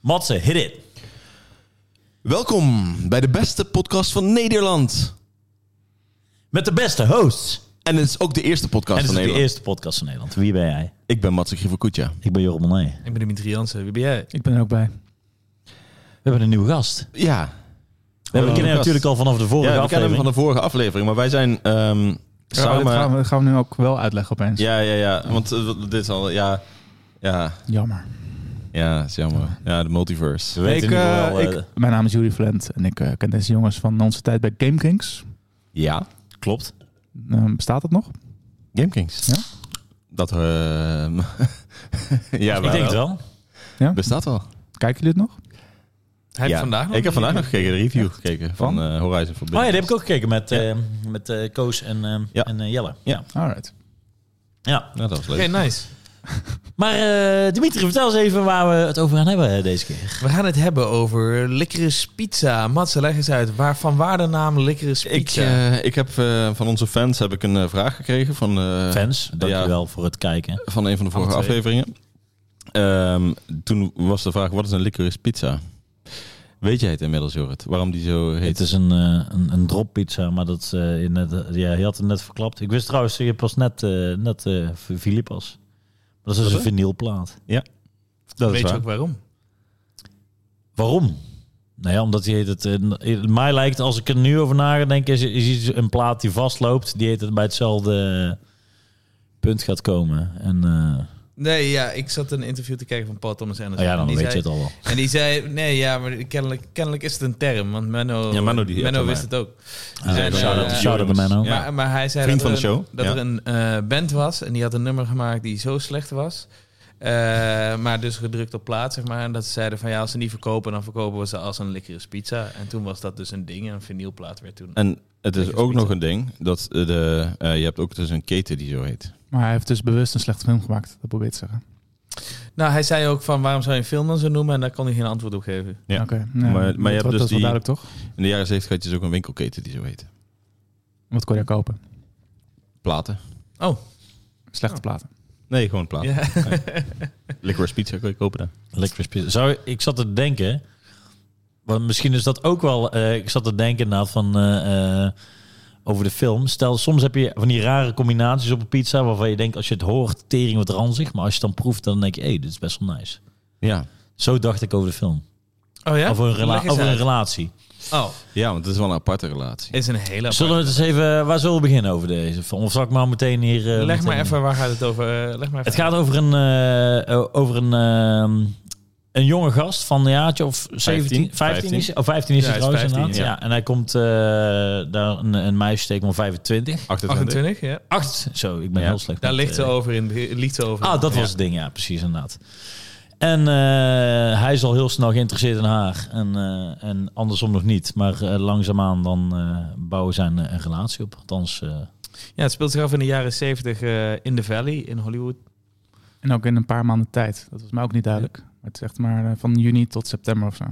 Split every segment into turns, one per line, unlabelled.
Matze, hit it.
Welkom bij de beste podcast van Nederland.
Met de beste hosts.
En het is ook de eerste podcast
En dit
van
is de
Nederland.
eerste podcast van Nederland. Wie ben jij?
Ik ben Matze Grieverkoetje.
Ik ben Joram Monet.
Ik ben Dimitri Jansen. Wie ben jij?
Ik ben er ook bij.
We hebben een nieuwe gast. We
Ja,
hebben kennen hem
gast.
natuurlijk al vanaf de vorige
ja we kennen
aflevering.
hem van de vorige aflevering, maar wij zijn ehm,
Samen... dat, gaan
samen...
we, dat gaan we nu ook wel uitleggen opeens.
Ja, ja, ja, want eh, dit is al... Ja, ja,
Jammer.
ja, is jammer. Ja, de multiverse.
We weten
Ik,
in ieder
eh,
geval, eh,
Mijn naam is Jury Flint en ik eh, ken deze jongens van onze tijd bij GameKings.
Ja,
Klopt.
Eh, bestaat dat nog?
GameKings.
Ja.
Dat... ehm, ja,
ik
wel.
denk het wel.
Bestaat wel.
Kijken jullie het nog?
Heb je
Ja.
vandaag nog?
Ik heb vandaag nog gekeken, de review
Echt?
gekeken van eh, Horizon Forbidden.
Oh ja, die heb ik ook gekeken met, eh, met eh, Koos en, eh,
Ja.
en eh, Jelle.
Ja.
Alright.
ja.
Ja, dat was leuk.
Oké, nice.
Maar eh, Dimitri, vertel eens even waar we het over gaan hebben eh, deze keer.
We gaan het hebben over Likkeris Pizza. Matze, leg eens uit. Waar, van waar de naam Likkeris
Ik,
Pizza?
eh, ik heb eh, van onze fans heb ik een eh, vraag gekregen van, eh,
Fans, dankjewel voor het kijken.
van een van de vorige
Alle twee.
afleveringen. Ehm, toen was de vraag, wat is een licorice pizza? Weet jij het inmiddels, Jorrit? Waarom die zo
Het
heet?
is een, eh, een, een drop pizza, maar dat, eh, je net, ja, je had het net verklapt. Ik wist trouwens, je hebt pas net, eh net eh Philippas. Dat is dus een vinylplaat.
Dat
Weet
is
je
waar.
ook waarom?
Waarom? Nou ja, omdat die heet het. eh, mij lijkt, als ik er nu over na ga denken, is, is iets een plaat die vastloopt, die heet het bij hetzelfde eh, punt gaat komen. En eh,
Nee, ja, ik zat een interview te kijken van Paul Thomas Anderson.
Oh
nou ja, dan
En die
weet je
zei-
het al wel.
En die zei, nee, ja, maar kennelijk, kennelijk is het een term. Want Menno,
Ja, Menno die- ja, van
wist
mij.
het ook.
Ah,
zijn, eh,
shout-out-
eh,
Shout-out to Menno.
Ja.
Maar, maar hij zei
Vriend
dat
van de
er een-
show,
dat
ja.
er een eh, band was en die had een nummer gemaakt die zo slecht was. Eh, maar dus gedrukt op plaat, zeg maar. En dat ze zeiden van ja, als ze niet verkopen, dan verkopen we ze als een lekkere pizza. En toen was dat dus een ding en een vinylplaat werd toen.
En het is
Licorice
ook
pizza.
nog een ding, dat eh, de, eh, je hebt ook dus een keten die zo heet.
Maar hij heeft dus bewust een slechte film gemaakt. Dat probeer ik te zeggen.
Nou, hij zei ook van waarom zou je een film dan zo noemen? En daar kon hij geen antwoord op geven.
Ja.
Oké.
Maar-
nou,
maar je
dat
hebt dus
wordt- dat is wel
die-
duidelijk toch?
In de jaren 70 had je dus ook een winkelketen die zo heet.
Wat kon je daar kopen?
Platen.
Oh,
Slechte platen.
Nee, gewoon
Ah,
platen.
ja.
Licorice pizza kun je kopen daar.
Licorice pizza. Zou, ik zat te denken, want misschien is dat ook wel. eh, ik zat te denken inderdaad van eh, eh, over de film. Stel, soms heb je van die rare combinaties op een pizza waarvan je denkt als je het hoort, tering wat ranzig, maar als je het dan proeft, dan denk je, hé, dit is best wel nice.
Ja.
Zo dacht ik over de film.
Oh ja?
Over, een rela-
Leg eens
over een
uit.
relatie.
Oh,
ja, want het is wel een aparte relatie.
is een hele
Zullen we
aparte.
het eens even, waar zullen we beginnen over deze film? Of zal ik maar meteen hier... eh,
Leg
meteen-
maar even, waar gaat het over? Eh, Leg maar even.
Het gaat over een, eh, o- over een, ehm, een jonge gast van een jaartje of 17, 15,
15.
is hij. Oh, 15 is
Ja,
hij
hij is
trouwens
15,
inderdaad. Ja.
ja.
en hij komt eh, daar een, een meisje tegen van 25.
28.
28, ja.
Acht, zo, ik ben
Ja.
heel slecht.
Daar
met,
ligt ze
eh,
over in. Ligt ze over in-
Ah, dat was
Ja.
het ding, ja, precies inderdaad. En eh, hij is al heel snel geïnteresseerd in haar. En, eh, en andersom nog niet. Maar eh, langzaamaan dan eh, bouwen zij een, een relatie op. Althans, eh,
Ja, het speelt zich af in de jaren 70 eh, in de Valley in Hollywood.
En ook in een paar maanden tijd. Dat was mij ook niet duidelijk. Maar het is echt maar eh, van juni tot september of zo.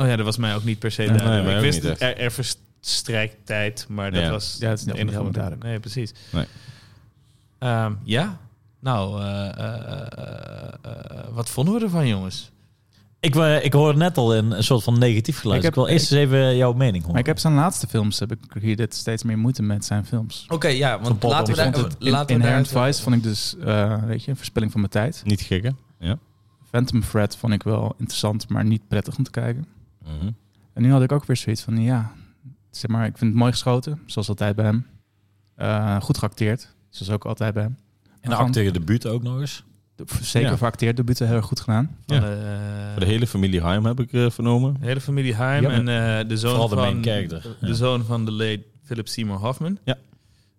Oh ja, dat was mij ook niet per se
Nee,
duidelijk.
mij
ik
ook
wist
niet
het, er, er verstrijkt tijd, maar dat
Ja.
was
Ja, het is
de
niet
enige
helemaal
moment.
duidelijk.
Nee, precies.
Nee.
Ehm, ja, nou, eh, eh, eh, eh, wat vonden we ervan, jongens?
ik, eh, ik hoorde net al een, een soort van negatief geluid. Ik,
Ik heb-
wil eerst eens even jouw mening horen.
Maar ik heb zijn laatste films, heb ik hier dit steeds meer moeite met zijn films.
Oké, ja,
Van
want
Paul
laten we
Thomas
daar...
Anderson.
In,
laten we daar
Inherent Vice vond ik dus, eh, weet je, een verspilling van mijn tijd.
Niet gekke. Ja.
Phantom Thread vond ik wel interessant, maar niet prettig om te kijken.
Mhm.
En nu had ik ook weer zoiets van, ja, zeg maar, ik vind het mooi geschoten, zoals altijd bij hem. Eh, goed geacteerd, zoals ook altijd bij hem.
en de
Van-
acteur de buurt ook nog eens.
de- Zeker
Ja.
geacteerd, de buiten heel erg goed gedaan.
van,
Ja.
eh,
Voor de hele familie Heim heb ik eh, vernomen.
de hele familie Heim
Ja.
en eh, de zoon
Vooral de
van...
main character,
De,
ja.
zoon van de late Philip Seymour Hoffman.
Ja.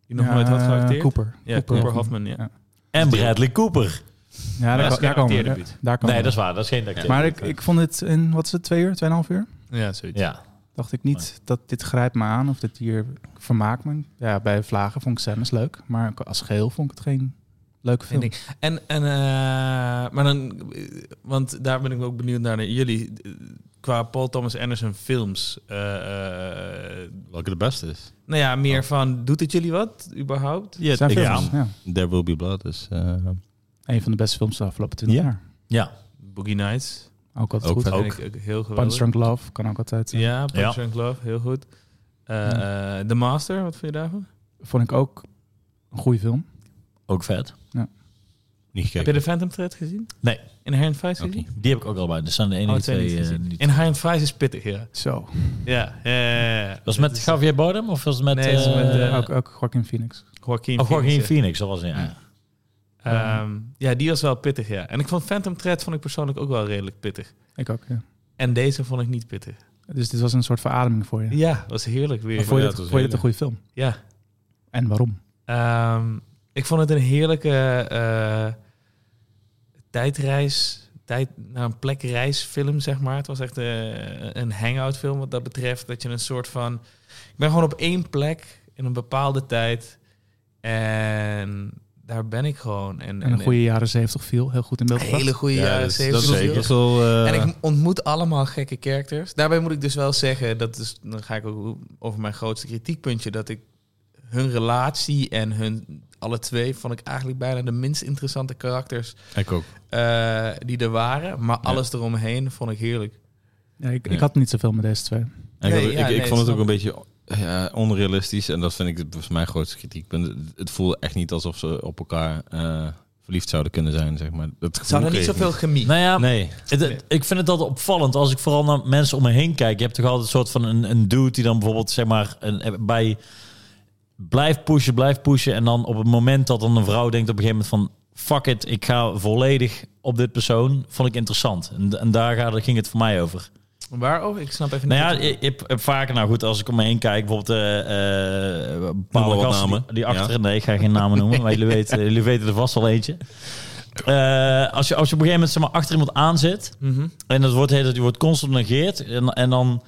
Die nog nooit had
Ja,
geacteerd.
Cooper.
Ja, Cooper, Hoffman, ja.
Ja.
En Bradley Cooper.
Ja,
Maar
daar,
dat is geen
daar komen we.
acteerdebuut.
daar- Daar komen
Nee,
we.
dat is waar. Dat is geen acteur.
Maar ik, ik vond het in, wat is het, twee uur, tweeënhalf uur?
Ja, zoiets.
Ja.
Dacht ik niet dat dit grijpt me aan of dit hier vermaakt me. Ja, bij Vlagen vond ik scènes leuk, maar als geheel vond ik het geen leuke film.
Vind ik. En, en eh, maar dan, want daar ben ik ook benieuwd naar, naar jullie. eh, Qua Paul Thomas Anderson films. eh, eh,
Welke de beste is.
nou ja, meer van, doet het jullie wat, überhaupt?
Ja,
Zijn
ik
films, ja.
There Will Be Blood. Dus, eh,
Een van de beste films de afgelopen 20
Ja.
jaar.
ja.
Boogie Nights.
Ook altijd
Ook
goed.
vet.
Dat vind ik ook heel
Punch
geweldig.
Drunk Love kan ook altijd. eh,
Ja, Punch
Ja.
Drunk Love, heel goed. Eh,
Ja.
eh, The Master, wat vind je daarvan?
Vond ik ook een goede film.
Ook vet.
Niet
Heb je
gekeken.
de Phantom Thread gezien?
Nee.
In Hand Vice
Ook
gezien?
niet.
Die heb ik ook al bij. Dat zijn de
Oh,
enige
twee
twee.
niet
eh,
gezien.
die-
In Hand Vice is pittig, ja.
Zo.
Ja, ja, ja, ja.
Was het met Javier Bardem of was het met...
Nee, het is
eh,
met, eh,
ook, ook Joaquin Phoenix.
Joaquin
oh, Joaquin
Phoenix, ja.
Phoenix, dat was een, ja.
Ehm, ja, die was wel pittig, ja. En ik vond Phantom Thread vond ik persoonlijk ook wel redelijk pittig.
Ik ook, ja.
En deze vond ik niet pittig.
Dus dit was een soort verademing voor je.
Ja, was heerlijk weer.
Maar vond je,
Ja,
dit,
het was
vond je dit
heel
een goede film?
Ja.
En waarom?
Ehm, ik vond het een heerlijke eh, tijdreis, tijd naar een plekreisfilm, zeg maar. Het was echt eh, een hangout film wat dat betreft. Dat je een soort van... Ik ben gewoon op één plek in een bepaalde tijd. En daar ben ik gewoon. En,
En een goede jaren zeventig viel. Heel goed in beeld
een
gebracht.
hele goede
Ja,
jaren
dat is- dat
70
is zeker. Dat is
film.
wel, eh,
En ik ontmoet allemaal gekke characters. Daarbij moet ik dus wel zeggen, dat is, dan ga ik ook over mijn grootste kritiekpuntje, dat ik hun relatie en hun alle twee vond ik eigenlijk bijna de minst interessante karakters
ik ook.
eh, die er waren. Maar alles eromheen vond ik heerlijk.
Ja, ik, ik
Ja.
had niet zoveel met deze twee.
En ik
Nee,
had-
ja,
ik, ik
nee,
vond het
snap
ook een beetje ja, onrealistisch. En dat vind ik volgens mijn grootste kritiekpunt. Het voelde echt niet alsof ze op elkaar eh, verliefd zouden kunnen zijn, zeg maar. Dat gevoel
Zou er niet
kreeg ik
zoveel chemie?
Nou ja,
Nee.
het- het- ik vind het altijd opvallend als ik vooral naar mensen om me heen kijk. Je hebt toch altijd een soort van een, een dude die dan bijvoorbeeld zeg maar een, eh, bij blijft pushen, blijft pushen. En dan op het moment dat dan een vrouw denkt op een gegeven moment van fuck it, ik ga volledig op dit persoon, vond ik interessant. En, en daar gaat- daar ging het voor mij over.
Waarover? Ik snap even niet.
Nou ja,
wat je-
ik, ik heb vaker, nou goed, als ik om me heen kijk, bijvoorbeeld eh, eh,
maar
bepaalde
wat
gasten
namen.
die, die achter... Nee, ik ga geen namen noemen, maar jullie weten, jullie weten er vast wel eentje. Eh, als, je, als je op een gegeven moment zeg maar, achter iemand aan zit,
Mhm.
en dat wordt, heet dat, die wordt constant negeerd, en, en, dan,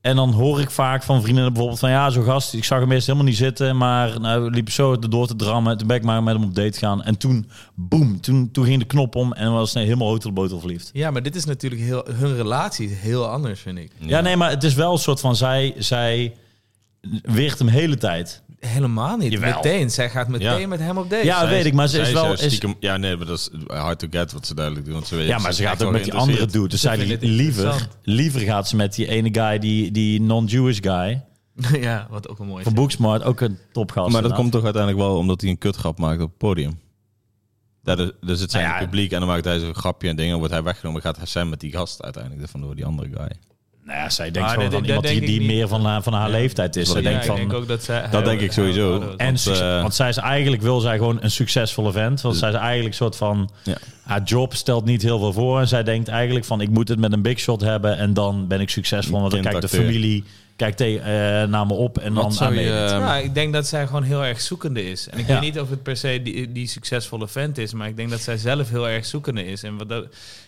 en dan hoor ik vaak van vrienden bijvoorbeeld van, ja, zo'n gast, ik zag hem eerst helemaal niet zitten, maar nou, liep zo door te drammen, toen ben ik maar met hem op date gaan, en toen, boem, toen, toen ging de knop om, en was hij helemaal hotelbotel verliefd.
ja, maar dit is natuurlijk heel, hun relatie is heel anders, vind ik.
Ja, nee, maar het is wel een soort van zij, zij weert hem de hele tijd.
Helemaal niet.
Jawel.
Meteen. Zij gaat meteen
Ja.
met hem op date.
Ja,
Zij
weet
is-
ik, maar ze
zij
is wel-
juist
is-
Stiekem, ja, nee, maar dat is hard to get wat ze duidelijk doen. Want ze
Ja, maar ze gaat ook met die andere
andere
dude. Dus zij
vindt het
liever,
interessant.
liever gaat ze met die ene guy, die, die non-Jewish guy
ja, wat ook een mooie
van
zin.
Booksmart, ook een topgast.
Maar dat
inderdaad.
komt toch uiteindelijk wel omdat hij een kutgrap maakt op het podium. Ja, dus dus het zijn
Nou ja.
het publiek en dan maakt hij zo'n grapje en dingen. Wordt hij weggenomen, gaat hij zijn met die gast uiteindelijk vandoor, die andere guy.
Nou ja, zij denkt
Ah,
gewoon
dat-
van
dat
iemand die,
denk ik
die
niet.
meer van haar, van haar
Ja.
leeftijd is.
Dat
Zij
denk
Ja,
denkt
ik
van...
denk ook dat zij...
Dat denk ik sowieso.
en
want,
succes-
eh,
want zij is eigenlijk, wil zij gewoon een succesvolle vent. Want zij is eigenlijk een soort van...
Ja.
Haar job stelt niet heel veel voor. En zij denkt eigenlijk van, ik moet het met een big shot hebben. En dan ben ik succesvol. Want dan kijkt de
Kindacteur.
familie kijkt te- eh, naar me op. En
Wat
dan
zou
aan
je... eh,
Ehm,
Ja, ik denk dat zij gewoon heel erg zoekende is. En ik
Ja.
weet niet of het per se die, die succesvolle vent is, maar ik denk dat zij zelf heel erg zoekende is. En, wat dat,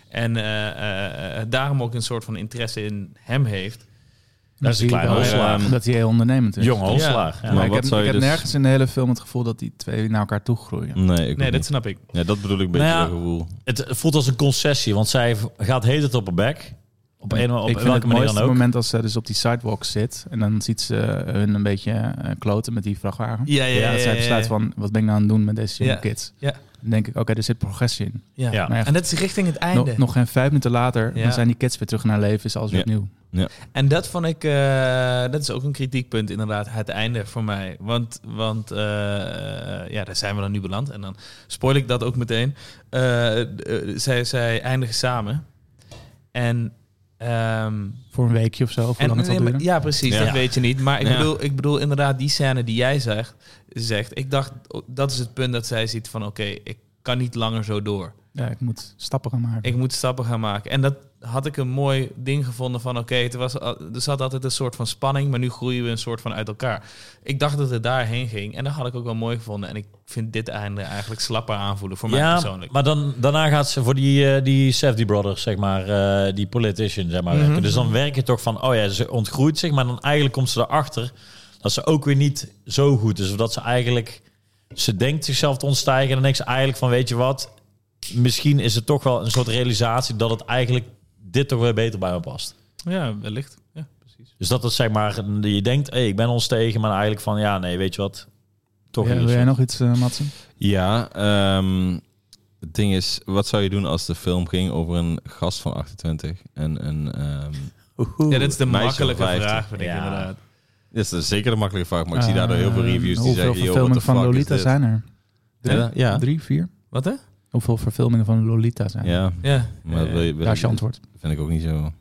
en eh, eh, eh, daarom ook een soort van interesse in hem heeft.
Dat is een kleine
hosselaar.
eh, Dat hij heel ondernemend is.
Jonge
Ja,
hosselaar. Ja.
Maar
ik
wat
heb,
zou
ik
je
heb
dus-
nergens in de hele film het gevoel dat die twee naar elkaar toe groeien.
Nee, ik
Nee,
nee,
dat snap ik.
ja, dat bedoel ik een beetje
Nou ja.
dat gevoel.
Het voelt als een concessie, want zij v- gaat heet het op haar bek. Op, een, op
ik vind
welke
het
manier
mooiste
dan ook.
moment als ze dus op die sidewalk zit en dan ziet ze hun een beetje eh, kloten met die vrachtwagen.
Ja,
ja,
dat zij besluit van, wat ben ik nou aan het doen met deze jonge
Ja.
kids?
Ja.
Dan denk ik, oké, er zit progressie in.
Ja.
Ja.
Maar echt,
En dat is richting het einde.
nog, nog geen vijf minuten later,
Ja.
dan zijn die kids weer terug naar leven, is alles weer
Ja.
opnieuw.
En dat vond ik, eh, dat is ook een kritiekpunt inderdaad, het einde voor mij. Want, want eh, ja, daar zijn we dan nu beland. En dan spoil ik dat ook meteen. Eh, eh, zij, zij eindigen samen. En ehm,
Voor een weekje of zo, of hoe lang het zal
nee, maar-
duren.
ja, precies.
Ja.
Dat weet je niet. Maar ik,
Ja.
bedoel, ik bedoel inderdaad die scène die jij zegt. zegt ik dacht, oh, dat is het punt dat zij ziet van... oké, ik kan niet langer zo door.
Ja, ik moet stappen gaan maken.
Ik moet stappen gaan maken. En dat had ik een mooi ding gevonden van... oké, het was al- er zat altijd een soort van spanning... maar nu groeien we een soort van uit elkaar. Ik dacht dat het daarheen ging. En dat had ik ook wel mooi gevonden. En ik vind dit einde eigenlijk slapper aanvoelen voor mij
Ja,
persoonlijk.
maar dan, daarna gaat ze voor die, eh, die Safety Brothers, zeg maar, eh, die politician, zeg maar.
Mhm.
werken. Dus dan werk je toch van, oh ja, ze ontgroeit zich, maar dan eigenlijk komt ze erachter dat ze ook weer niet zo goed is. Of dat ze eigenlijk, ze denkt zichzelf te ontstijgen en dan denkt ze eigenlijk van, weet je wat, misschien is het toch wel een soort realisatie dat het eigenlijk dit toch weer beter bij me past.
Ja, wellicht. Ja, precies.
Dus dat is zeg maar, je denkt, hey, ik ben ons tegen, maar eigenlijk van, ja, nee, weet je wat, toch
Ja,
niet.
wil jij nog iets, eh Madsen?
Ja, ehm, het ding is, wat zou je doen als de film ging over een gast van 28 en een... ehm
Ja, dat is de
Meisje
makkelijke
van 15.
vraag, vind ik
Ja.
inderdaad.
dit is zeker een makkelijke vraag, maar ik zie daardoor heel veel
Eh,
reviews die
Hoeveel
zeggen... Yo, what
verfilmingen
the
van
fuck is
Lolita
dit?
zijn er? Drie?
Ja, ja.
Drie, vier?
Wat hè?
Hoeveel verfilmingen van Lolita zijn er?
Ja,
Ja.
maar dat wil je, wil
Daar is je
je-
antwoord.
vind ik ook niet zo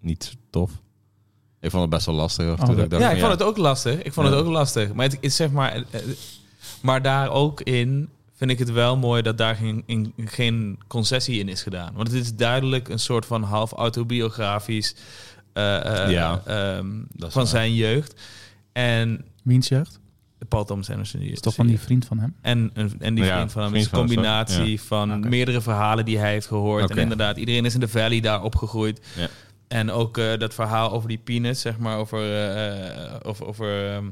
niet tof. Ik vond het best wel lastig. af en toe
Oh,
dat ik dacht
ja,
van,
ik vond het ook lastig. Ik vond
Ja.
het ook lastig. Maar het is zeg maar... eh, eh, Maar daar ook in vind ik het wel mooi dat daar geen, in- geen concessie in is gedaan. Want het is duidelijk een soort van half autobiografisch... eh, eh,
Ja,
ehm,
dat is
van
waar.
zijn jeugd. En
Wiens jeugd? Dat
Paul Thomas Anderson. die-
is toch van die vriend van hem?
En, en en die
Ja,
vriend van hem
vriend
is een
van hem, sorry.
combinatie van
Oké.
meerdere verhalen die hij heeft gehoord.
Oké.
En inderdaad, iedereen is in de valley daar opgegroeid.
Ja.
En ook eh, dat verhaal over die peanuts, zeg maar, over, eh, over, over, ehm,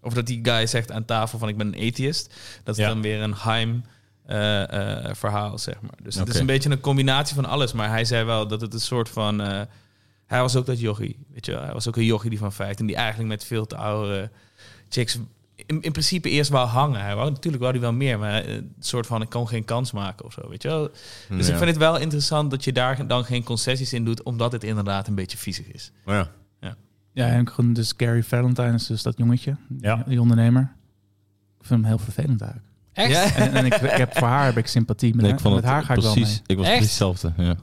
over dat die guy zegt aan tafel van ik ben een atheist. Dat is
Ja.
dan weer een Heim eh, eh, verhaal, zeg maar. Dus het is
Oké.
een beetje een combinatie van alles. Maar hij zei wel dat het een soort van... eh, hij was ook dat jochie, weet je wel. Hij was ook een jochie die van 15, die eigenlijk met veel te oudere chicks in, in principe eerst wou hangen. Hij wou, natuurlijk wou hij wel meer, maar eh, een soort van ik kon geen kans maken of zo, weet je wel. Dus
Ja.
ik vind het wel interessant dat je daar dan geen concessies in doet, omdat het inderdaad een beetje viezig is.
Oh Ja.
Ja, en ook gewoon dus Gary Valentine is dus dat jongetje,
Ja.
die ondernemer. Ik vind hem heel vervelend eigenlijk.
Echt?
Ja.
En, en ik, ik heb, voor haar heb ik sympathie. Met,
Nee,
haar-
ik vond
met
het
haar ga ik wel
precies,
mee.
ik was
Echt?
precies hetzelfde. Ja.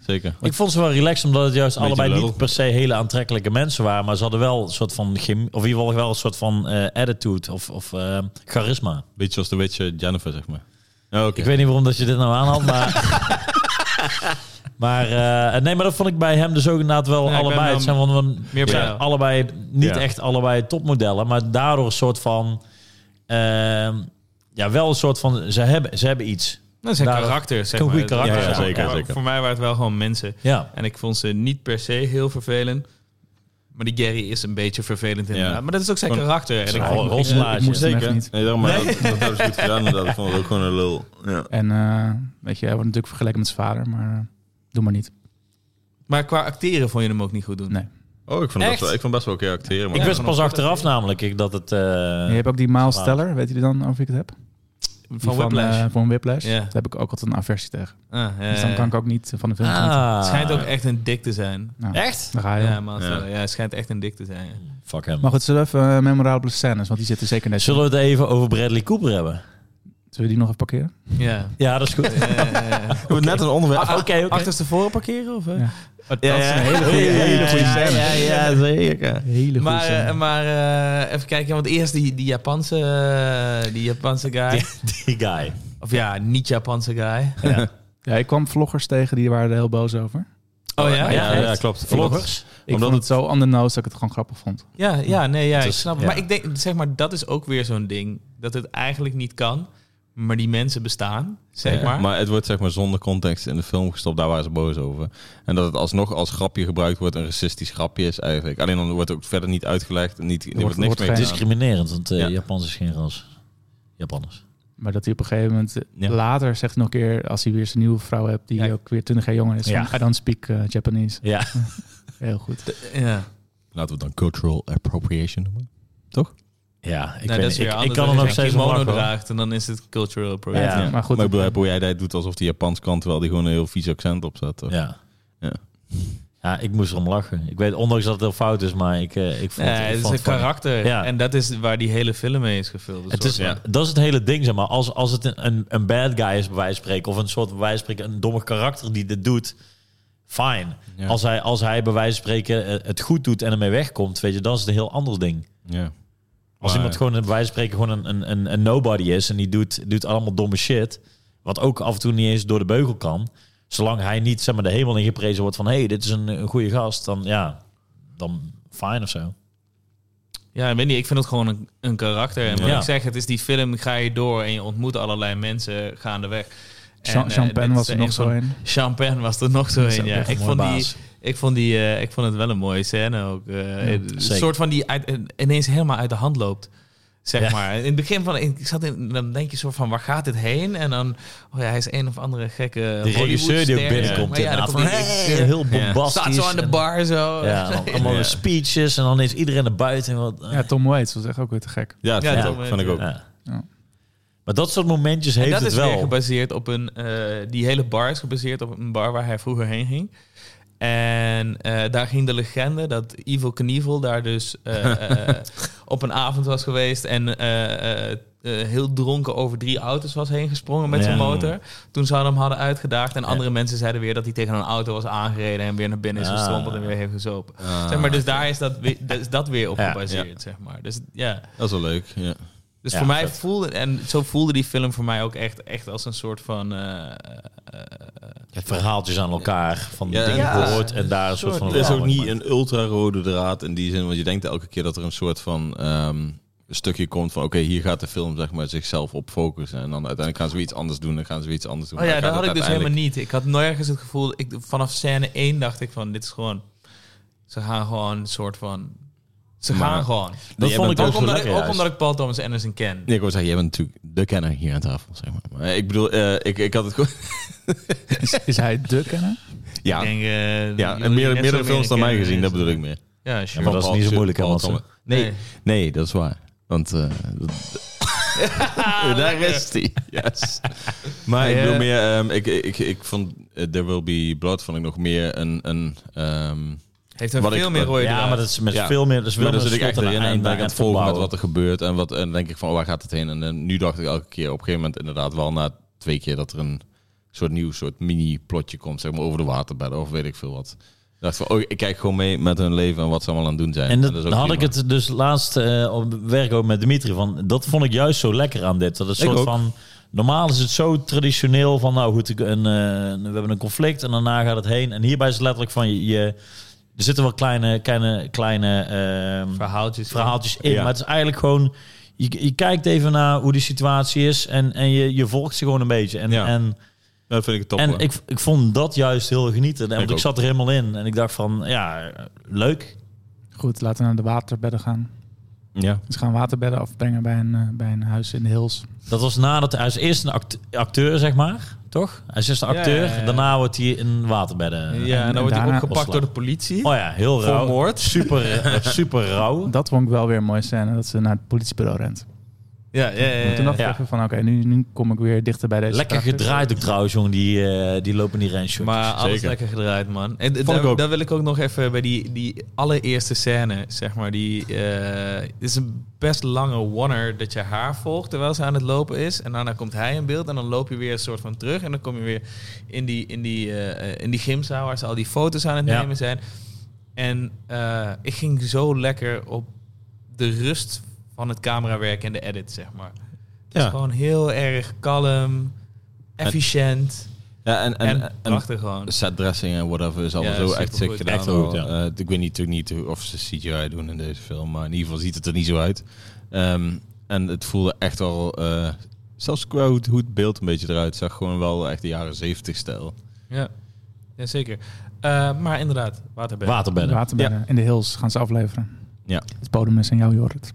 Zeker.
Ik vond ze wel relaxed, omdat het juist
Beetje
allebei
lul.
niet per se hele aantrekkelijke mensen waren. Maar ze hadden wel een soort van chemie, of in ieder geval wel een soort van eh, attitude of, of eh, charisma.
Beetje zoals de witch eh, Jennifer, zeg maar. Oh, Oké.
Ik weet niet waarom dat je dit nou aanhaalt, maar... maar eh, nee, maar dat vond ik bij hem dus ook inderdaad wel
Ja, ik ben
allebei.
wel
Het zijn, van, van,
meer
het zijn
bij jou.
allebei niet
Ja.
echt allebei topmodellen, maar daardoor een soort van... ehm, ja, wel een soort van... Ze hebben, ze hebben iets.
Dat zijn
Daar-
karakters, zeg
een
maar.
goede karakter,
ja, zeker, zeker.
Voor mij waren het wel gewoon mensen.
Ja.
En ik vond ze niet per se heel vervelend. Maar die Gary is een beetje vervelend inderdaad. Maar dat is ook zijn
Gewoon-
karakter. En ik
Gewoon
vond-
een rotselaar.
Ik moest hem echt niet.
Nee, daarom, maar Dat, dat hebben ze goed gedaan. inderdaad. Ik vond het ook gewoon een lul. Ja.
En eh, weet je, hij wordt natuurlijk vergeleken met zijn vader, maar eh, doe maar niet.
Maar qua acteren vond je hem ook niet goed doen.
Nee.
Oh, ik vond, best
Echt?
wel, ik vond best wel oké acteren. Maar
Ik
Ja,
wist
van
pas
een-
achteraf namelijk ik, dat het... eh,
je hebt ook die Miles
waar.
Teller, weet je dan over wie ik het heb? Die
Van Whiplash.
eh, van Whiplash.
Ja.
Daar heb ik ook altijd een aversie tegen.
Ah, ja,
Dus dan
ja.
kan ik ook niet van de film genieten.
ah.
Het schijnt ook echt een dik te zijn.
Nou,
Echt?
Daar ga je.
Ja, maar
Ja.
ja. het schijnt echt een dik te zijn. ja.
Fuck hem.
Maar goed, zullen we even eh, memorabele scènes, want die zitten zeker net.
Zullen we het even over Bradley Cooper hebben?
Zullen we die nog even parkeren?
Ja.
Ja, dat is goed.
Eh, eh, eh.
we net een onderwerp.
Ah, Oké, oké.
Achterstevoren parkeren? Of, eh?
Ja.
Ja, ja.
Dat is een hele goede,
Ja,
hele goede
ja,
scène.
ja, ja,
zeker.
Hele goede
Maar,
scène.
eh, maar eh, even kijken, want eerst die, die, Japanse, eh, die Japanse guy.
Die, die guy.
Of ja, niet-Japanse guy.
Ja, ik kwam vloggers tegen, die waren er heel boos over.
Oh ja?
Ja, ja,
Ja,
ja, klopt.
Vloggers.
Ik
Omdat
vond het zo on the nose dat ik het gewoon grappig vond.
ja, ja, nee, ja, ik
Dus, ja.
snap het. Maar ik denk, zeg maar, dat is ook weer zo'n ding. Dat het eigenlijk niet kan, maar die mensen bestaan, zeg
Ja,
maar.
maar. het wordt zeg maar zonder context in de film gestopt. Daar waren ze boos over. En dat het alsnog als grapje gebruikt wordt, een racistisch grapje is eigenlijk. Alleen dan wordt ook verder niet uitgelegd. en Niet, er wordt,
wordt-
niks
wordt
mee
geen-
gedaan.
Discriminerend, want eh,
Ja.
Japans is geen ras. Japanners.
Maar dat hij op een gegeven moment eh,
Ja.
later zegt nog een keer, als hij weer zijn nieuwe vrouw hebt, die
Ja.
ook weer 20 jaar jonger is,
Ja.
van, I don't speak eh, Japanese.
Ja.
Heel goed.
Ja. Nou,
Laten we het dan cultural appropriation noemen.
Ja, ik,
Nee,
weet
dat
niet.
is weer
ik, ik
anders.
kan
Als
er
je
nog
een
steeds om
kimono
lachen, hoor.
draagt en dan is het cultural appropriate.
Ja.
Maar goed,
maar ik bedoel, hoe jij dat doet alsof die Japans kant wel die gewoon een heel vies accent op zat. toch?
Ja.
Ja.
Ja, ik moest erom lachen. Ik weet, ondanks dat het heel fout is, maar ik, eh, ik vond
Nee,
ik
het is
vond
een
funny.
karakter.
Ja.
En dat is waar die hele film mee is gevuld. Een
Het
soort
is,
van-
ja.
Dat is het hele ding, zeg maar. Als, als het een, een, een bad guy is, bij wijze van spreken, of een soort, bij wijze van spreken, een domme karakter die dit doet, fine.
Ja.
Als, hij, als hij, bij wijze van spreken, eh, het goed doet en ermee wegkomt, weet je, dan is het een heel ander ding.
Ja.
Als
Maar-
iemand gewoon, bij wijze van spreken, gewoon een, een, een, een nobody is en die doet, doet allemaal domme shit, wat ook af en toe niet eens door de beugel kan, zolang hij niet, zeg maar, de hemel in geprezen wordt van, hé, hey, dit is een, een goede gast, dan ja, dan fine of zo.
Ja, ik weet niet. Ik vind het gewoon een, een karakter. En wat
Ja.
ik zeg, het is die film, ga je door en je ontmoet allerlei mensen gaandeweg. En,
Jean,
eh,
Jean
dit
Pen
is
was er nog
een
zo
van-
in.
Jean Pen was er nog zo
is
in,
ook
ja.
echt een
Ik
mooie
vond, die,
baas.
ik, vond die, eh, ik vond het wel een mooie scène ook. eh, een
zeker.
soort van die uit, eh, ineens helemaal uit de hand loopt. Zeg
Ja.
maar. In het begin van, ik zat in, dan denk je soort van, waar gaat dit heen? En dan, oh ja, hij is een of andere gekke
De regisseur die ook
Hollywoodster.
binnenkomt,
Maar ja, dan
inderdaad, van,
komt die
hey,
regisseur.
heel
Ja.
bombastisch.
Staat zo aan de
en-
bar zo.
Ja, en dan allemaal
Ja.
speeches en dan is iedereen naar buiten. en Wat,
Ja, Tom Waits was echt ook weer te gek.
Ja, dat
Ja,
vond ik
dat
ook.
wel-
vond ik ook.
Ja.
Ja.
Maar dat soort momentjes heeft
en dat
het
is
wel.
weer gebaseerd op een... eh, die hele bar is gebaseerd op een bar waar hij vroeger heen ging. En eh, daar ging de legende dat Evil Knievel daar dus eh, eh, op een avond was geweest... en eh, eh, eh, heel dronken over drie auto's was heen gesprongen met
Ja.
zijn motor. Toen ze hem hadden uitgedaagd. En andere mensen zeiden weer dat hij tegen een auto was aangereden... en weer naar binnen is
Ah.
gestrompeld en weer heeft gezopen.
Ah,
Zeg maar, dus daar is dat, we- dat, is dat weer op
Ja,
gebaseerd, zeg maar. Dus ja...
Dat is wel leuk. Ja.
Dus
Ja,
voor mij
vet.
voelde, en zo voelde die film voor mij ook echt, echt als een soort van. eh, eh,
Het verhaaltjes aan elkaar van de
Ja,
dingen
ja.
gehoord en daar een soort van.
Er is ook
verhaal in
niet een ultra-rode draad in die zin, want je denkt elke keer dat er een soort van ehm, stukje komt van oké, hier gaat de film zeg maar zichzelf op focussen en dan uiteindelijk gaan ze weer iets anders doen, dan gaan ze weer iets anders doen.
oh ja,
Dan
dat
gaat
had ik
het
dus helemaal
uiteindelijk-
niet. Ik had nergens het gevoel. Ik, vanaf scène 1 dacht ik van: dit is gewoon. Ze gaan gewoon een soort van. Ze
Maar-
gaan gewoon.
Dat
jij
vond ik
bent ook
ook
Ook
zo
omdat, ik,
lekker.
ook
juist.
omdat ik Paul Thomas Anderson ken.
Nee, ik wil zeggen, jij bent natuurlijk de kenner hier aan tafel, zeg maar. maar ik bedoel, eh, ik, ik had het gewoon...
Is, is hij de kenner?
Ik
Ja,
denk, eh,
ja
jullie
en meer,
net
meerdere
zo
films dan
meer
mij
kennen.
gezien, dat bedoel ik meer.
Ja,
Ja,
sure.
maar dat is niet zo
Paul-
moeilijk, hè,
Paul
want
Thomas.
nee.
Nee, nee, dat is waar. Want eh, dat-
Nou,
daar
eh,
is die. Yes. Maar ik
Ja.
eh,
bedoel meer, ehm, ik, ik, ik vond eh, There Will Be Blood vond ik nog meer een... een ehm,
Heeft een
Wat ik-
veel meer rode
Ja,
draad.
maar dat is met
Ja.
veel meer. Dat is
maar
wel
dan
een
zit ik
slot
echt
en een
erin en
einde
ben ik
en
aan het volgen met
opbouwen.
wat er gebeurt. En, wat, en dan denk ik van, oh, waar gaat het heen? En, eh, nu dacht ik elke keer, op een gegeven moment inderdaad wel na twee keer... dat er een soort nieuw soort mini-plotje komt, zeg maar, over de waterbedden of weet ik veel wat. Ik dacht van, oh, ik kijk gewoon mee met hun leven en wat ze allemaal aan het doen zijn.
En dat,
is ook
dan had ik
prima.
het dus laatst eh, op werk ook met Dimitri van. Dat vond ik juist zo lekker aan dit. Dat is een
Ik
soort
ook.
van. Normaal is het zo traditioneel van, nou goed, ik- een, eh, we hebben een conflict en daarna gaat het heen. En hierbij is het letterlijk van, je, je- er zitten wel kleine, kleine, kleine ehm,
verhaaltjes.
verhaaltjes in.
Ja.
Maar het is eigenlijk gewoon, je, je kijkt even naar hoe die situatie is en, en je, je volgt ze gewoon een beetje. En,
Ja.
en
Dat vind ik top.
en
hoor.
ik, ik vond dat juist heel genieten. Want ik,
ook.
zat er helemaal in. En ik dacht van, ja, leuk.
Goed, laten we naar de waterbedden gaan.
ja.
Ze gaan waterbedden afbrengen bij een, eh, bij een huis in de hills.
Dat was nadat hij is eerst een act- acteur, zeg maar. Toch? Hij is eerst een
Ja,
acteur.
ja, ja.
Daarna wordt hij in waterbedden.
Ja, en
en
dan wordt hij
daarna-
opgepakt door de politie.
Oh ja, heel rauw.
moord.
Super, eh, super rauw.
Dat vond ik wel weer een mooie scène, dat ze naar het politiebureau rent.
Ja, ja, ja,
En toen dacht ik
Ja.
even van, oké, nu, nu kom ik weer dichter bij deze
Lekker
karakters.
gedraaid ook trouwens, jongen. Die, eh, die lopen in die range
Maar alles
Zeker.
lekker gedraaid, man. En
Vond
daar,
ik ook.
daar wil ik ook nog even bij die, die allereerste scène, zeg maar. Die eh, het is een best lange wanner dat je haar volgt terwijl ze aan het lopen is. En daarna komt hij in beeld en dan loop je weer een soort van terug. En dan kom je weer in die, in die, eh, eh, in die gymzaal waar ze al die foto's aan het
Ja.
nemen zijn. En eh, ik ging zo lekker op de rust van het camerawerk en de edit, zeg maar. Het is
Ja.
gewoon heel erg kalm, efficiënt
ja, en, en,
en,
en-
prachtig gewoon.
set dressing en whatever is allemaal
Ja,
zo echt sick
supergoed.
gedaan.
Echt goed,
wel.
ja.
Eh, ik weet niet- natuurlijk niet hoe- of ze CGI doen in deze film, maar in ieder geval ziet het er niet zo uit. Ehm, en het voelde echt wel, eh, zelfs qua hoe het, hoe het beeld een beetje eruit zag, gewoon wel echt de jaren 70 stijl.
Ja, ja zeker. Eh, maar inderdaad, waterbed.
Waterbedden.
Waterbedden in de hills gaan ze afleveren.
Ja.
Het bodem is aan jou, Jorrit.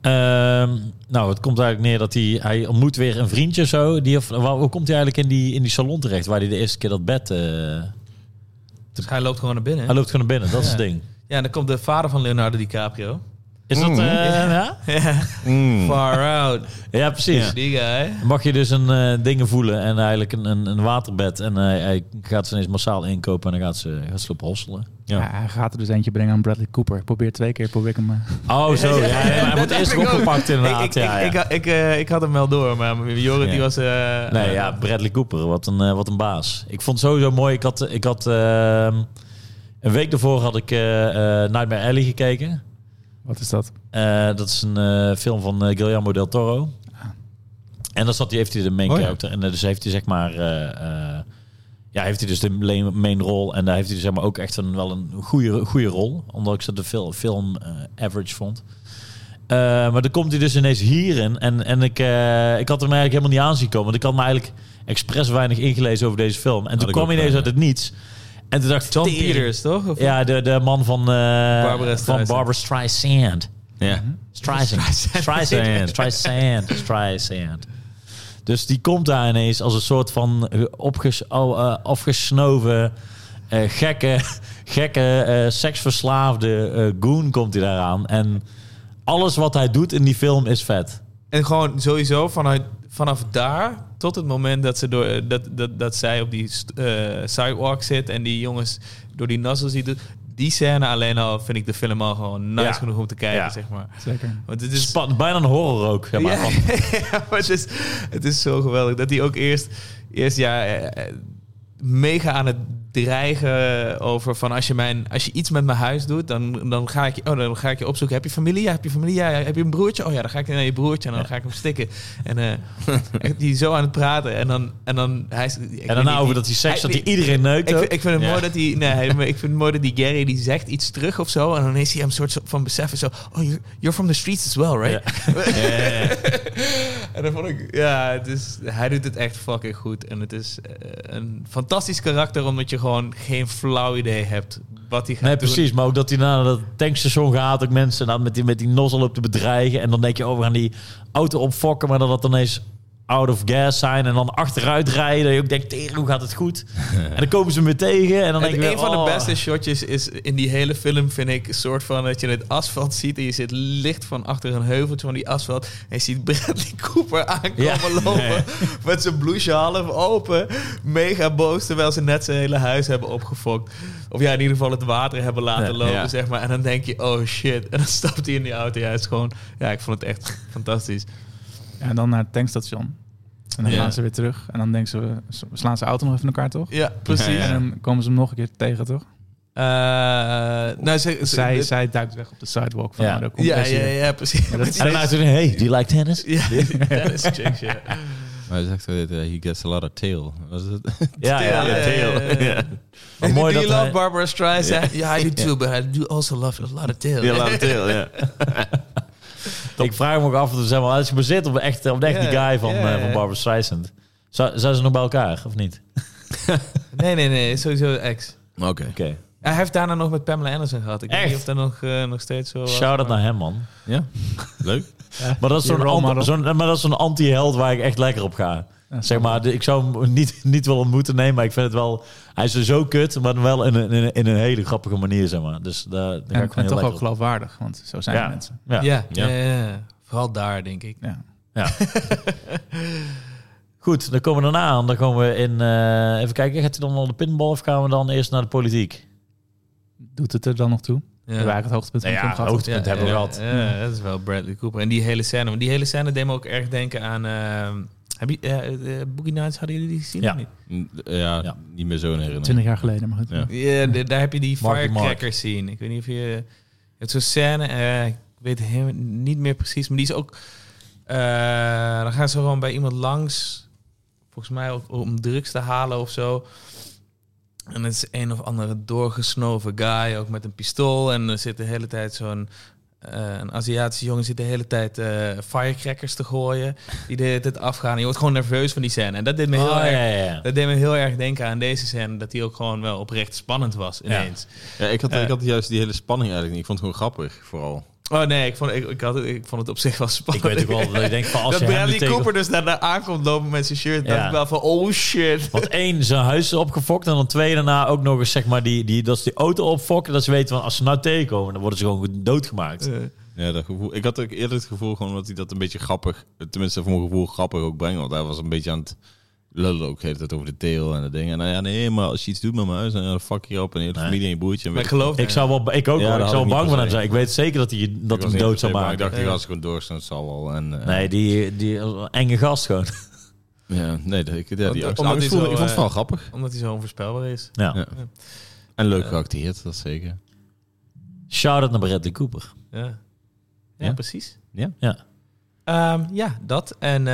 Ehm, nou, het komt eigenlijk neer dat hij... Hij ontmoet weer een vriendje of zo. Die, of, waar, hoe komt hij eigenlijk in die, in die salon terecht? Waar hij de eerste keer dat bed... eh,
dus hij loopt gewoon naar binnen.
hij loopt gewoon naar binnen. Dat is
Ja.
het ding.
Ja, en dan komt de vader van Leonardo DiCaprio.
Is dat...
Mm.
eh, ja?
Far out.
Hmm. ja, precies.
Die guy.
Mag je dus een eh, dingen voelen en eigenlijk een, een, een waterbed. En hij, hij gaat ze ineens massaal inkopen en dan gaat ze, gaat ze lopen hosselen.
Ja.
Ja. hij gaat er dus eentje brengen aan Bradley Cooper. Ik probeer twee keer, probeer ik hem... eh,
Oh, zo. Ja, ja, hij wordt eerst
ook.
opgepakt inderdaad.
Ik, ik,
ja, ja.
ik, ik, eh, ik had hem wel door, maar Jorrit
Ja.
die was... eh,
nee, ja, Bradley Cooper. Wat een, eh, wat een baas. Ik vond het sowieso mooi. Ik had, eh, ik had ehm, een week daarvoor had ik eh eh, Nightmare Alley gekeken.
wat is dat?
Eh, dat is een eh, film van eh, Guillermo del Toro. En dan zat hij, heeft hij de main
Oh, ja.
character. En eh, dus heeft hij zeg maar... eh, eh, ja, heeft hij dus de le- main rol. En daar heeft hij dus, zeg maar ook echt een, wel een goede, goede rol. Ondanks dat de fil- film eh, average vond. Eh, maar dan komt hij dus ineens hierin. En, en ik, eh, ik had hem eigenlijk helemaal niet aan zien komen. Want ik had me eigenlijk expres weinig ingelezen over deze film. En
Had
toen
ik
kwam
ook
hij ineens
wel,
uit het niets. En toen dacht ik...
John
"Tering."
Peters, eh, toch? Of-
Ja, de, de man van, eh, van
Streisand.
Barbara Streisand.
Mhm.
Ja.
Streisand. Streisand. Streisand. Streisand. Dus die komt daar ineens als een soort van eh, opges oh, eh, afgesnoven, eh, gekke, gekke eh, seksverslaafde eh, goon komt hij
Dus-
daaraan. En alles wat hij doet in die film is vet.
En gewoon sowieso vanuit, vanaf daar tot het moment dat, ze door, eh, dat, dat, dat zij op die st- eh, sidewalk zit en die jongens door die nassel ziet, doen, die scène alleen al vind ik de film al gewoon nice
Ja.
genoeg om te kijken,
Ja.
zeg maar.
Zeker.
Want het
Het is
is
span- bijna een horror ook. Zeg maar.
ja,
Van-
ja, maar het is, het is zo geweldig dat hij ook eerst, eerst ja, eh, eh, mega aan het dreigen over van als je, mijn, als je iets met mijn huis doet, dan, dan, ga ik, je- oh, dan ga ik je opzoeken. Heb je familie? Ja, heb je familie? Ja, heb je een broertje? Oh ja, dan ga ik naar je broertje en dan ga ik hem stikken. En eh, echt die zo aan het praten en dan... En, dan, hij, is- ik weet
En daarna
niet,
over
die-
dat hij seks dat
hij-
hij iedereen neukt
ik
ook.
vind, ik vind het
Ja.
mooi dat hij. Nee, hij- maar ik vind het mooi dat die Gary die zegt iets terug of zo. En dan is hij een soort van beseffen zo. Oh, you're, you're from the streets as well, right? en dan vond ik, ja, het is, hij doet het echt fucking goed. En het is eh, een fantastisch karakter, omdat je gewoon geen flauw idee hebt wat hij gaat
Nee,
doen.
precies. Maar ook dat hij naar dat tankstation gaat. Ook mensen dan met die, met die nozzle loopt te bedreigen. En dan denk je, oh, we gaan die auto opfokken. Maar dat dat dan eens out of gas zijn. En dan achteruit rijden. Dat je ook denkt, tegen, hoe gaat het goed? en dan komen ze me tegen. En dan denk
En
je,
een van
oh.
de beste shotjes is in die hele film, vind ik, een soort van dat je het asfalt ziet en je zit licht van achter een heuveltje van die asfalt en je ziet Bradley Cooper aankomen
Ja.
lopen met zijn blouse half open, mega boos, terwijl ze net zijn hele huis hebben opgefokt. Of ja, in ieder geval het water hebben laten
Ja,
lopen,
ja.
zeg maar. En dan denk je, oh shit. En dan stapt hij in die auto. Ja, het is gewoon, ja, ik vond het echt fantastisch.
Ja, en dan naar het tankstation. En dan
Ja.
gaan ze weer terug. En dan denken ze, ze slaan ze auto nog even in elkaar, toch?
Ja, precies.
Ja, ja.
En dan komen ze hem nog een keer tegen, toch?
Eh, nou, ze, ze-
Zij, zij duikt weg op de sidewalk van
Ja.
ja. de
ja, ja,
compressie.
ja, precies.
Ja, dat
En dan maakt hij, hey, do you like tennis?
Ja, dat is chicks, ja.
Maar hij zegt altijd, eh, he gets a lot of tail. Was het?
Ja, ja,
Ja, ja, ja, ja, ja.
Wat
En
mooi
do
dat
you love
hij...
Barbara Streisand? Ja, I do too, but I do also love a lot of tail.
Ja, lot of tail, ja.
Ik vraag me ook af, of er zijn wel, het is gebaseerd op, echt, op de echte
Ja,
guy van,
ja,
eh,
ja.
van Barbara Streisand. Zou- zijn ze nog bij elkaar, of niet?
Nee, nee, nee, sowieso ex.
Oké.
Oké.
Hij heeft daarna nog met Pamela Anderson gehad. Ik weet
Echt?
niet of dat nog, eh, nog steeds zo was.
Shout-out
maar-
naar hem, man.
Ja, leuk.
Maar dat is
Je
zo'n
role
ant-
model.
zo'n- maar dat is zo'n anti-held waar ik echt lekker op ga.
Ja,
Zeg maar, de- ik zou hem niet, niet willen ontmoeten, nee, maar ik vind het wel... Hij is er zo kut, maar wel in een, in een, in een hele grappige manier, zeg maar. Dus daar, daar ga
En,
ik gewoon
en
heel
toch
lekker
ook
op.
geloofwaardig, want zo zijn
Ja.
de mensen.
Ja.
Ja, ja.
Ja.
ja. vooral daar, denk ik.
Ja.
Goed, dan komen we daarna aan. Dan komen we in... eh, even kijken, gaat hij dan al de pinball of gaan we dan eerst naar de politiek?
Doet het er dan nog toe? We hebben eigenlijk het hoogtepunt van de
Nou
film
ja,
gehad.
hoogte- Dat hebben we gehad.
Ja, dat is wel Bradley Cooper. En die hele scène. Want die hele scène deed me ook erg denken aan... ehm, heb je, eh, eh, Boogie Nights, hadden jullie die gezien?
Ja.
of niet?
Ja,
Ja.
niet meer zo'n herinnering.
20 jaar geleden, maar goed.
Ja.
Ja, d- daar heb je die
Marky Mark.
firecracker scene. Ik weet niet of je... je hebt zo'n scène, eh, ik weet hem niet meer precies, maar die is ook... eh, dan gaan ze gewoon bij iemand langs, volgens mij ook om drugs te halen of zo. En het is een of andere doorgesnoven guy, ook met een pistool. En er zit de hele tijd zo'n... eh, een Aziatische jongen zit de hele tijd eh, firecrackers te gooien. Die de hele tijd afgaan. En je wordt gewoon nerveus van die scène. En dat deed me heel
Oh,
erg
ja, ja, ja.
dat deed me heel erg denken aan deze scène, dat die ook gewoon wel oprecht spannend was ineens.
Ja, ik, had,
Eh.
ik had juist die hele spanning eigenlijk niet. Ik vond het gewoon grappig, vooral.
Oh nee, ik vond, ik, ik, had, het- ik vond het op zich wel
Ik
spannend.
weet ook wel, dat ik denk van als
dat
je hem nu
Bradley
tegen-
Cooper dus daarna aankomt lopen met zijn shirt, dacht
Ja.
ik wel van oh shit.
Want één, zijn huis is opgefokt. En dan twee, daarna ook nog eens, zeg maar, die, die, dat ze die auto opfokken. Dat ze weten, van, als ze nou tegenkomen, dan worden ze gewoon doodgemaakt.
Eh,
Ja, dat gevoel. Ik had ook eerder het gevoel gewoon dat hij dat een beetje grappig, tenminste voor mijn gevoel grappig ook brengt. Want hij was een beetje aan het lullen ook de hele tijd over de teel en de dingen. En nou ja, nee, maar als je iets doet met mijn huis, dan ja, dan fuck je op en je hele
Nee.
familie en je broertje. En
maar ik
weet-
geloof
Ik zou wel, ik ook wel,
Ja, dat
ik
had
zou
ik
wel
niet
bang van hem
gezegd.
zijn. Ik weet zeker dat hij,
ik
dat hem
was niet
dood zou
opgeschreven, maar Ik
maken.
dacht, die
Ja.
was gewoon doorstaan, het zal wel. En, eh,
Nee, die, die enge gast gewoon.
Ja, nee, dat, ik, ja, die
Omdat-
angst-
omdat
angst
hij
voelde-
zo,
ik vond het wel
eh,
grappig.
Omdat hij zo onvoorspelbaar is.
Ja.
Ja. En leuk geacteerd, dat zeker.
Shout-out naar Bradley Cooper.
Ja, ja,
Ja.
precies.
Ja.
Ehm, ja, dat. En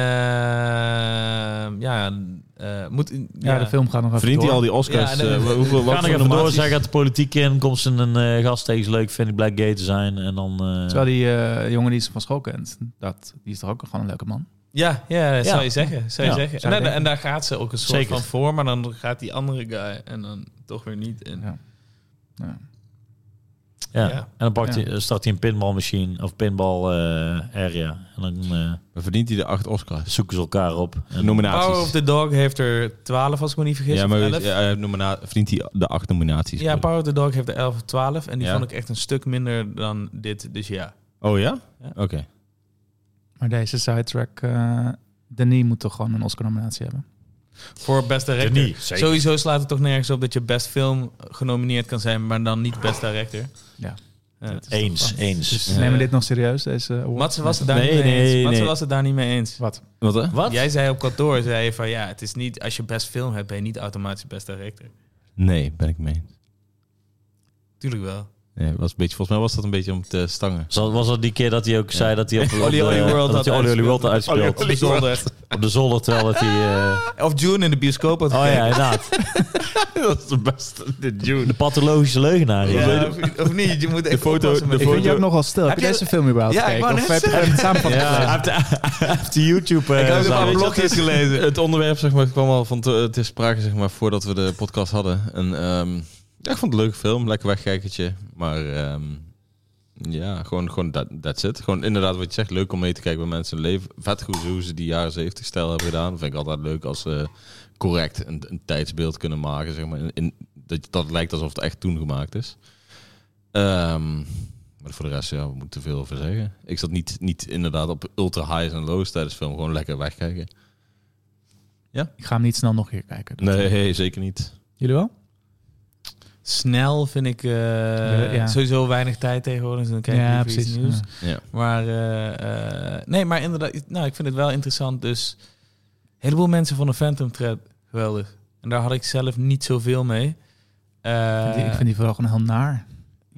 ehm, ja, eh, moet...
Ja, de film gaat nog even
Verdient hij al
door.
die Oscars?
Ja, nee,
eh,
nee.
hoeveel,
We gaan
wat
nog
voor
even door.
nominaties?
Zij gaat de politiek in. Komt ze een eh, gast tegen. Is leuk. Vind ik Black Gay te zijn. En dan... eh,
Terwijl die eh, jongen die ze van school kent, dat, die is toch ook gewoon een leuke man?
Ja, ja, dat
Ja.
zou je zeggen. Zou je
Ja,
zeggen.
zou
en,
je
daar- en
denken.
daar gaat ze ook een soort
Zeker.
van voor, maar dan gaat die andere guy en dan toch weer niet. En,
Ja. Ja.
ja.
ja.
En dan pakt
Ja.
hij, start hij een pinball machine. Of pinball eh, area. En dan eh,
Maar Verdient hij de acht Oscars?
zoeken ze elkaar op. En,
Nominaties.
Power of the Dog heeft er 12, als ik me niet vergis.
ja,
of
maar
11.
ja,
Ja,
hij heeft nomina- verdient hij de acht nominaties?
Power of the Dog heeft er 11 of 12. En die
Ja.
vond ik echt een stuk minder dan dit. Dus ja.
Oh ja?
Ja.
Oké.
Maar deze sidetrack eh, Denis moet toch gewoon een Oscar-nominatie hebben.
Voor best director.
Denis, zeker.
Sowieso slaat het toch nergens op dat je best film genomineerd kan zijn, maar dan niet best director.
Ja.
Ja.
Eens, eens.
Nemen we dit nog serieus, deze award?
Matze was het daar
Nee,
niet mee
nee,
eens. Matze
nee.
was het daar niet mee eens.
Wat?
Wat hè?
Wat?
Jij zei op kantoor, zei je van ja, het is niet, als je best film hebt, ben je niet automatisch best director.
Nee, ben ik mee.
Tuurlijk wel.
Nee, was een beetje, volgens mij was dat een beetje om te stangen.
Zal- Was dat die keer dat hij ook zei dat hij op, op
Oli
de-
Oli World
dat
had
hij Oli Oli World had
uitgespeeld.
uitgespeeld?
Op de zolder.
Op de zolder, terwijl dat hij... eh,
Of June in de bioscoop had
Oh ja,
gekeken.
inderdaad.
dat is de beste. De June.
De pathologische leugenaar. ja.
Ja, of, of niet, je moet even
foto-
oppassen met
de
Ik vind je
foto-
ook nogal stil. Heb je
Heb je-
deze film überhaupt
Ja, ik
gekeken?
wou
of
net
heb je een samenvatting
Ja,
gelezen?
hij heeft de- hij heeft de YouTube... eh,
Ik heb ook een
zaal.
paar
Weet je
blogjes gelezen.
dus Het onderwerp zeg maar, kwam al van te, het is sprake zeg maar, voordat we de podcast hadden. En, ehm, ja, ik vond het een leuke film, lekker wegkijkertje. Maar ehm, ja, gewoon, gewoon that, that's it. Gewoon inderdaad wat je zegt, leuk om mee te kijken bij mensen in leven. Vet goed hoe ze die jaren 70 stijl hebben gedaan. Vind ik altijd leuk als ze correct een, een tijdsbeeld kunnen maken. Zeg maar, in, in- dat, dat lijkt alsof het echt toen gemaakt is. Ehm, maar voor de rest, ja, we moeten te veel over zeggen. Ik zat niet, niet inderdaad op ultra highs en lows tijdens de film. Gewoon lekker wegkijken.
Ik ga hem niet snel nog een keer kijken.
Nee, zeker niet.
Jullie wel?
Snel vind ik eh,
ja.
sowieso weinig tijd tegenwoordig. Dus dan kijk je
ja,
liever iets
precies.
nieuws.
Ja.
Ja.
Maar eh, eh, nee, maar inderdaad, nou, ik vind het wel interessant. Dus een heleboel mensen vonden Phantom Thread geweldig. En daar had ik zelf niet zoveel mee. Eh,
Ik vind die- ik vind die vooral gewoon heel naar.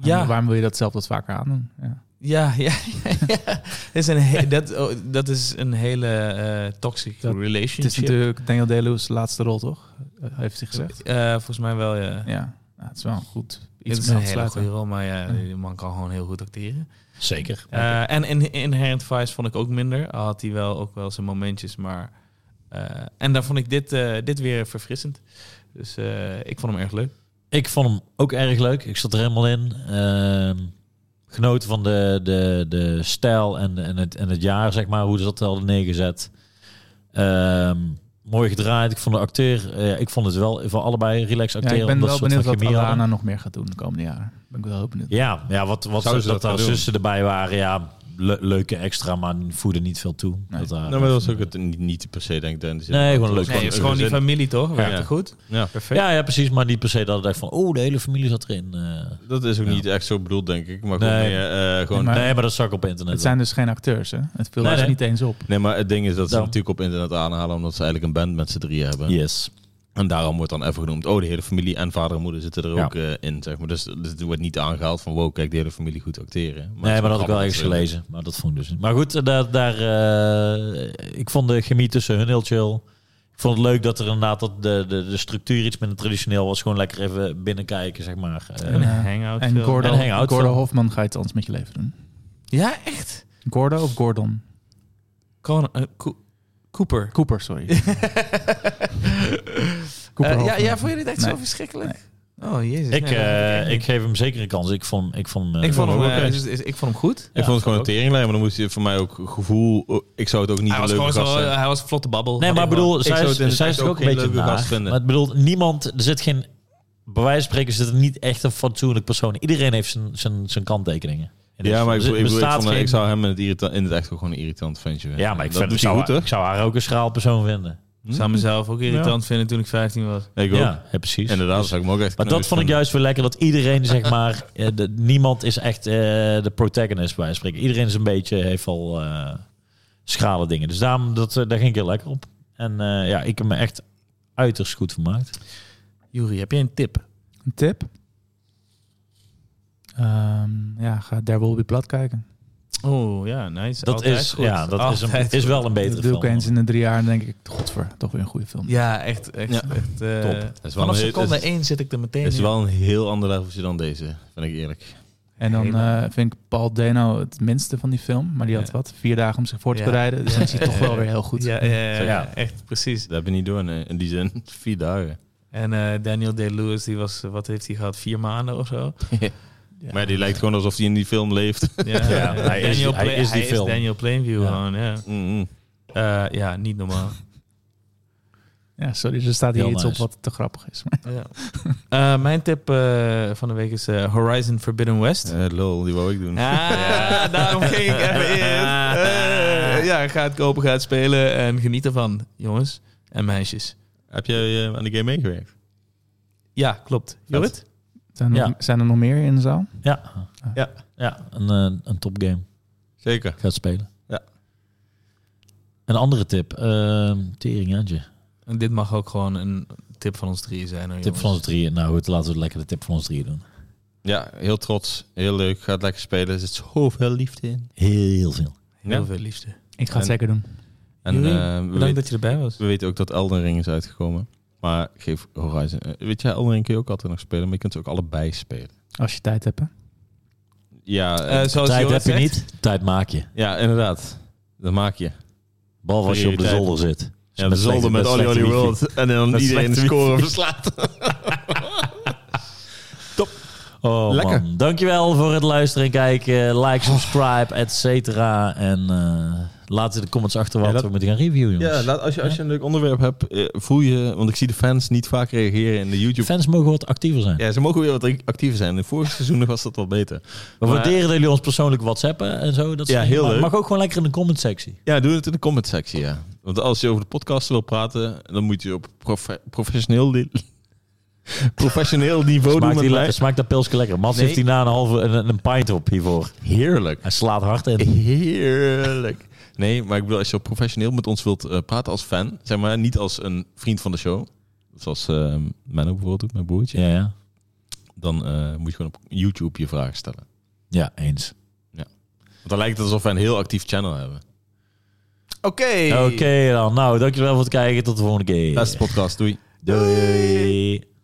Ja.
Ja. Waarom wil je dat zelf dat vaker aandoen? Ja.
Ja, ja, ja, ja. Dat is een he- dat, oh, dat is een hele eh, toxic
Dat- Het is
relationship.
natuurlijk Daniel Day-Lewis laatste rol, toch? Eh, heeft hij gezegd.
Eh, volgens mij wel, ja.
Ja, nou, het is wel een goed.
Dit
Iets
is
meer
een
aan te
hele
sluiten.
goede rol, maar ja, die man kan gewoon heel goed acteren.
Zeker.
Eh, en in, Inherent Vice vond ik ook minder. Al had hij wel ook wel zijn momentjes, maar... eh, en daar vond ik dit, eh, dit weer verfrissend. Dus eh, ik vond hem erg leuk.
Ik vond hem ook erg leuk. Ik zat er helemaal in. Ehm, genoten van de, de, de stijl en, en, het, en het jaar, zeg maar, hoe ze dat hadden neergezet. Ehm, mooi gedraaid. Ik vond de acteur, eh, ik vond het wel voor allebei relax
Ja,
acteren.
ik ben
omdat
wel
ze soort
benieuwd
van
wat
chemie hadden.
Alana nog meer gaat doen de komende jaren. Ben ik wel heel benieuwd.
Ja, ja wat, wat
Zouden
dat,
ze
dat
dat
daar
gaan doen?
zussen erbij waren, ja, le- leuke extra, maar voeden niet veel toe.
Nee.
Dat daar-
Nou, maar dat was ook het niet, niet per se, denk ik. Dennis.
Nee, gewoon leuk.
Het was
Nee, het is
een
gewoon die
gezin.
familie, toch? Werkte
Ja.
goed.
Ja.
Perfect.
ja, ja, precies, maar niet per se dat ik dacht van, oh, de hele familie zat erin. eh.
Dat is ook
Ja.
niet echt zo bedoeld, denk ik. Maar
Nee.
gewoon, nee. eh, gewoon,
Maar-
nee, maar dat zag ik op internet.
Het zijn dus geen acteurs, hè? Het viel
Nee,
er
nee.
niet eens op.
nee, maar het ding is dat ze
Dan.
natuurlijk op internet aanhalen... omdat ze eigenlijk een band met z'n drieën hebben.
Yes.
En daarom wordt dan even genoemd... oh, de hele familie en vader en moeder zitten er
Ja.
ook eh, in, zeg maar. Dus, dus het wordt niet aangehaald van... wow, kijk, de hele familie goed acteren.
nee, maar dat had ik wel
eens
ergens gelezen. Maar dat vond ik dus niet. Maar goed, eh, daar, daar, eh, ik vond de chemie tussen hun heel chill. Ik vond het leuk dat er inderdaad dat de, de, de structuur iets minder traditioneel was. Gewoon lekker even binnenkijken, zeg maar. Eh,
Een
Ja.
hangout
En
film.
Gordo,
En hangout
Gordo
film.
Hofman ga je het anders met je leven doen.
Ja, echt?
Gordo of Gordon?
Con- eh, Co- Cooper.
Cooper, sorry. Cooper
Eh, ja,
Hofman.
ja, vond je dit echt
Nee.
zo verschrikkelijk? Oh, jezus.
ik,
nee, dat
eh,
weet
ik
niet.
geef hem zeker een kans. Ik vond, ik vond, eh,
ik, vond hem,
ook
eh,
echt.
dus- is- ik vond hem goed.
eh, Ik vond het gewoon een
ook.
teringlijn, maar dan moest je voor mij ook gevoel... oh, ik zou het ook niet
Hij
een
was
leuke
gewoon
gast
zo, eh,
zijn.
hij was vlotte babbel.
Nee, maar ik bedoel, zij
zou
is,
het in het
zij
echt
is ook
ook
een
geen
beetje
leuke gast
naar.
vinden.
Maar ik bedoel, niemand, er zit geen, bij wijze van spreken zit er niet echt een fatsoenlijk persoon. Iedereen heeft zijn, zijn, zijn kanttekeningen. En
Ja,
Dus er
maar ik, bedoel, ik, bedoel, ik
bestaat
vond, eh,
geen-
ik zou hem in het, irrita- in het echt wel gewoon een irritant ventje vinden.
Ja, maar ik,
dat
vind, ik,
doet hij
zou,
goed,
haar-
hè?
ik zou haar ook een schraal persoon vinden.
Ik zou mezelf ook irritant vinden toen ik 15 was.
Ja, Ik ook.
Ja, ja, precies.
Inderdaad, dat zou ik hem ook echt
Maar dat
kneus
vond ik
vinden.
juist weer lekker, dat iedereen zeg maar, eh, de- niemand is echt eh, de protagonist bij wijze van spreken. Iedereen is een beetje, heeft al eh, schrale dingen. Dus daarom, dat, eh, daar ging ik heel lekker op. En eh, ja, ik heb me echt uiterst goed vermaakt.
Juri, heb jij een tip?
Een tip? Ehm, ja, ga There Will Be Blood kijken.
Oh ja, nice.
Dat
Altijd
is,
goed.
ja, dat is, een,
Altijd
is wel een
Dat
betere
doe
film.
ik eens in de drie jaar en denk ik, godver, toch weer een goede film.
Ja, echt. echt,
Ja.
echt eh,
Top. Dat
is wel
vanaf
een-
seconde
het is-
1 zit ik er meteen
Het is
in.
wel een heel ander leveltje dan deze, vind ik eerlijk.
En dan
Helemaal.
eh, vind ik Paul Dano het minste van die film. Maar die had
Ja.
wat, vier dagen om zich voor te
Ja.
bereiden. Dus dan is hij toch wel weer heel goed.
Ja, ja, ja,
Zo,
ja.
echt precies.
Dat heb je niet door nee. in die zin. Vier dagen.
En eh, Daniel Day-Lewis, die was, eh, wat heeft hij gehad? Vier maanden of zo?
Ja.
Maar die lijkt gewoon alsof hij in die film leeft.
Ja,
Ja, hij is- hij
Pla-
is die film.
Daniel Plainview
Ja.
gewoon, ja.
Mm, mm.
Eh, ja, niet normaal.
Ja, sorry, er staat hier
Heel
iets
nice.
op wat te grappig is. Maar
ja. Eh, mijn tip eh, van de week is eh, Horizon Forbidden West.
Eh, lol, die wou ik doen.
Ah, daarom ging ik even in. Eh, eh, ja, ga het kopen, ga het spelen en geniet ervan, jongens en meisjes.
Heb jij eh, aan de game meegewerkt?
Ja, klopt. Jorrit?
Zijn er,
Ja.
nog- zijn er nog meer in de zaal?
Ja,
Ja.
ja een, eh, een topgame.
Zeker.
Gaat spelen.
Ja.
Een andere tip. ehm tering, Jantje.
En dit mag ook gewoon een tip van ons drieën zijn. Hoor,
Tip van ons drieën. Nou goed, laten we lekker de tip van ons drieën doen.
Ja, heel trots. Heel leuk. Gaat lekker spelen. Er zit zoveel liefde in.
Heel veel.
Heel
Ja.
veel liefde.
Ik ga het
En-
zeker doen.
En
Jullie,
eh, we,
Bedankt
weten,
dat je erbij was.
we weten ook dat Elden Ring is uitgekomen. Maar geef Horizon... eh, weet je, Elden Ring kun je ook altijd nog spelen. Maar je kunt ze ook allebei spelen.
Als je tijd hebt, hè?
Ja,
Eh,
eh,
zoals
Tijd heb
Jorrit
je
zegt,
niet. Tijd maak je.
ja inderdaad. Dat maak je.
Behalve als je op de
Prioriteit.
zolder zit.
Ja, de zolder met Oli Oli World. En dan
Met
iedereen de
slechte
score verslaat.
Oh,
Lekker.
Man. Dankjewel voor het luisteren en kijken. Like, subscribe, et cetera. En eh laat in de comments achter wat
Ja, dat-
we moeten gaan reviewen, jongens.
Ja, laat, als, je, als je een leuk onderwerp hebt, eh, voel je... Want ik zie de fans niet vaak reageren in de YouTube.
Fans mogen wat actiever zijn.
Ja, ze mogen weer wat actiever zijn. In het vorige seizoen nog was dat wat beter.
We
Maar-
waarderen dat jullie ons persoonlijk whatsappen en zo. Dat is
Ja,
prima.
heel
Maar het
leuk.
Mag ook gewoon lekker in de comment sectie.
Ja, doe het in de comment sectie, ja. Want als je over de podcast wil praten, dan moet je op profe- professioneel, ni- professioneel niveau doen
Smaakt,
met
die le-
mij.
smaakt dat pilsje lekker. Mats heeft die na een halve een, een pint op hiervoor.
Heerlijk.
Hij slaat hard in.
Heerlijk. Nee, maar ik bedoel, als je op professioneel met ons wilt eh, praten als fan, zeg maar, niet als een vriend van de show, zoals eh Menno bijvoorbeeld doet, mijn broertje,
Ja, ja.
dan eh, moet je gewoon op YouTube je vragen stellen.
ja eens.
Want dan lijkt het alsof wij een heel actief channel hebben.
Oké.
Oké dan. Nou, dankjewel voor het kijken. Tot de volgende keer.
Beste podcast, doei.
Doei.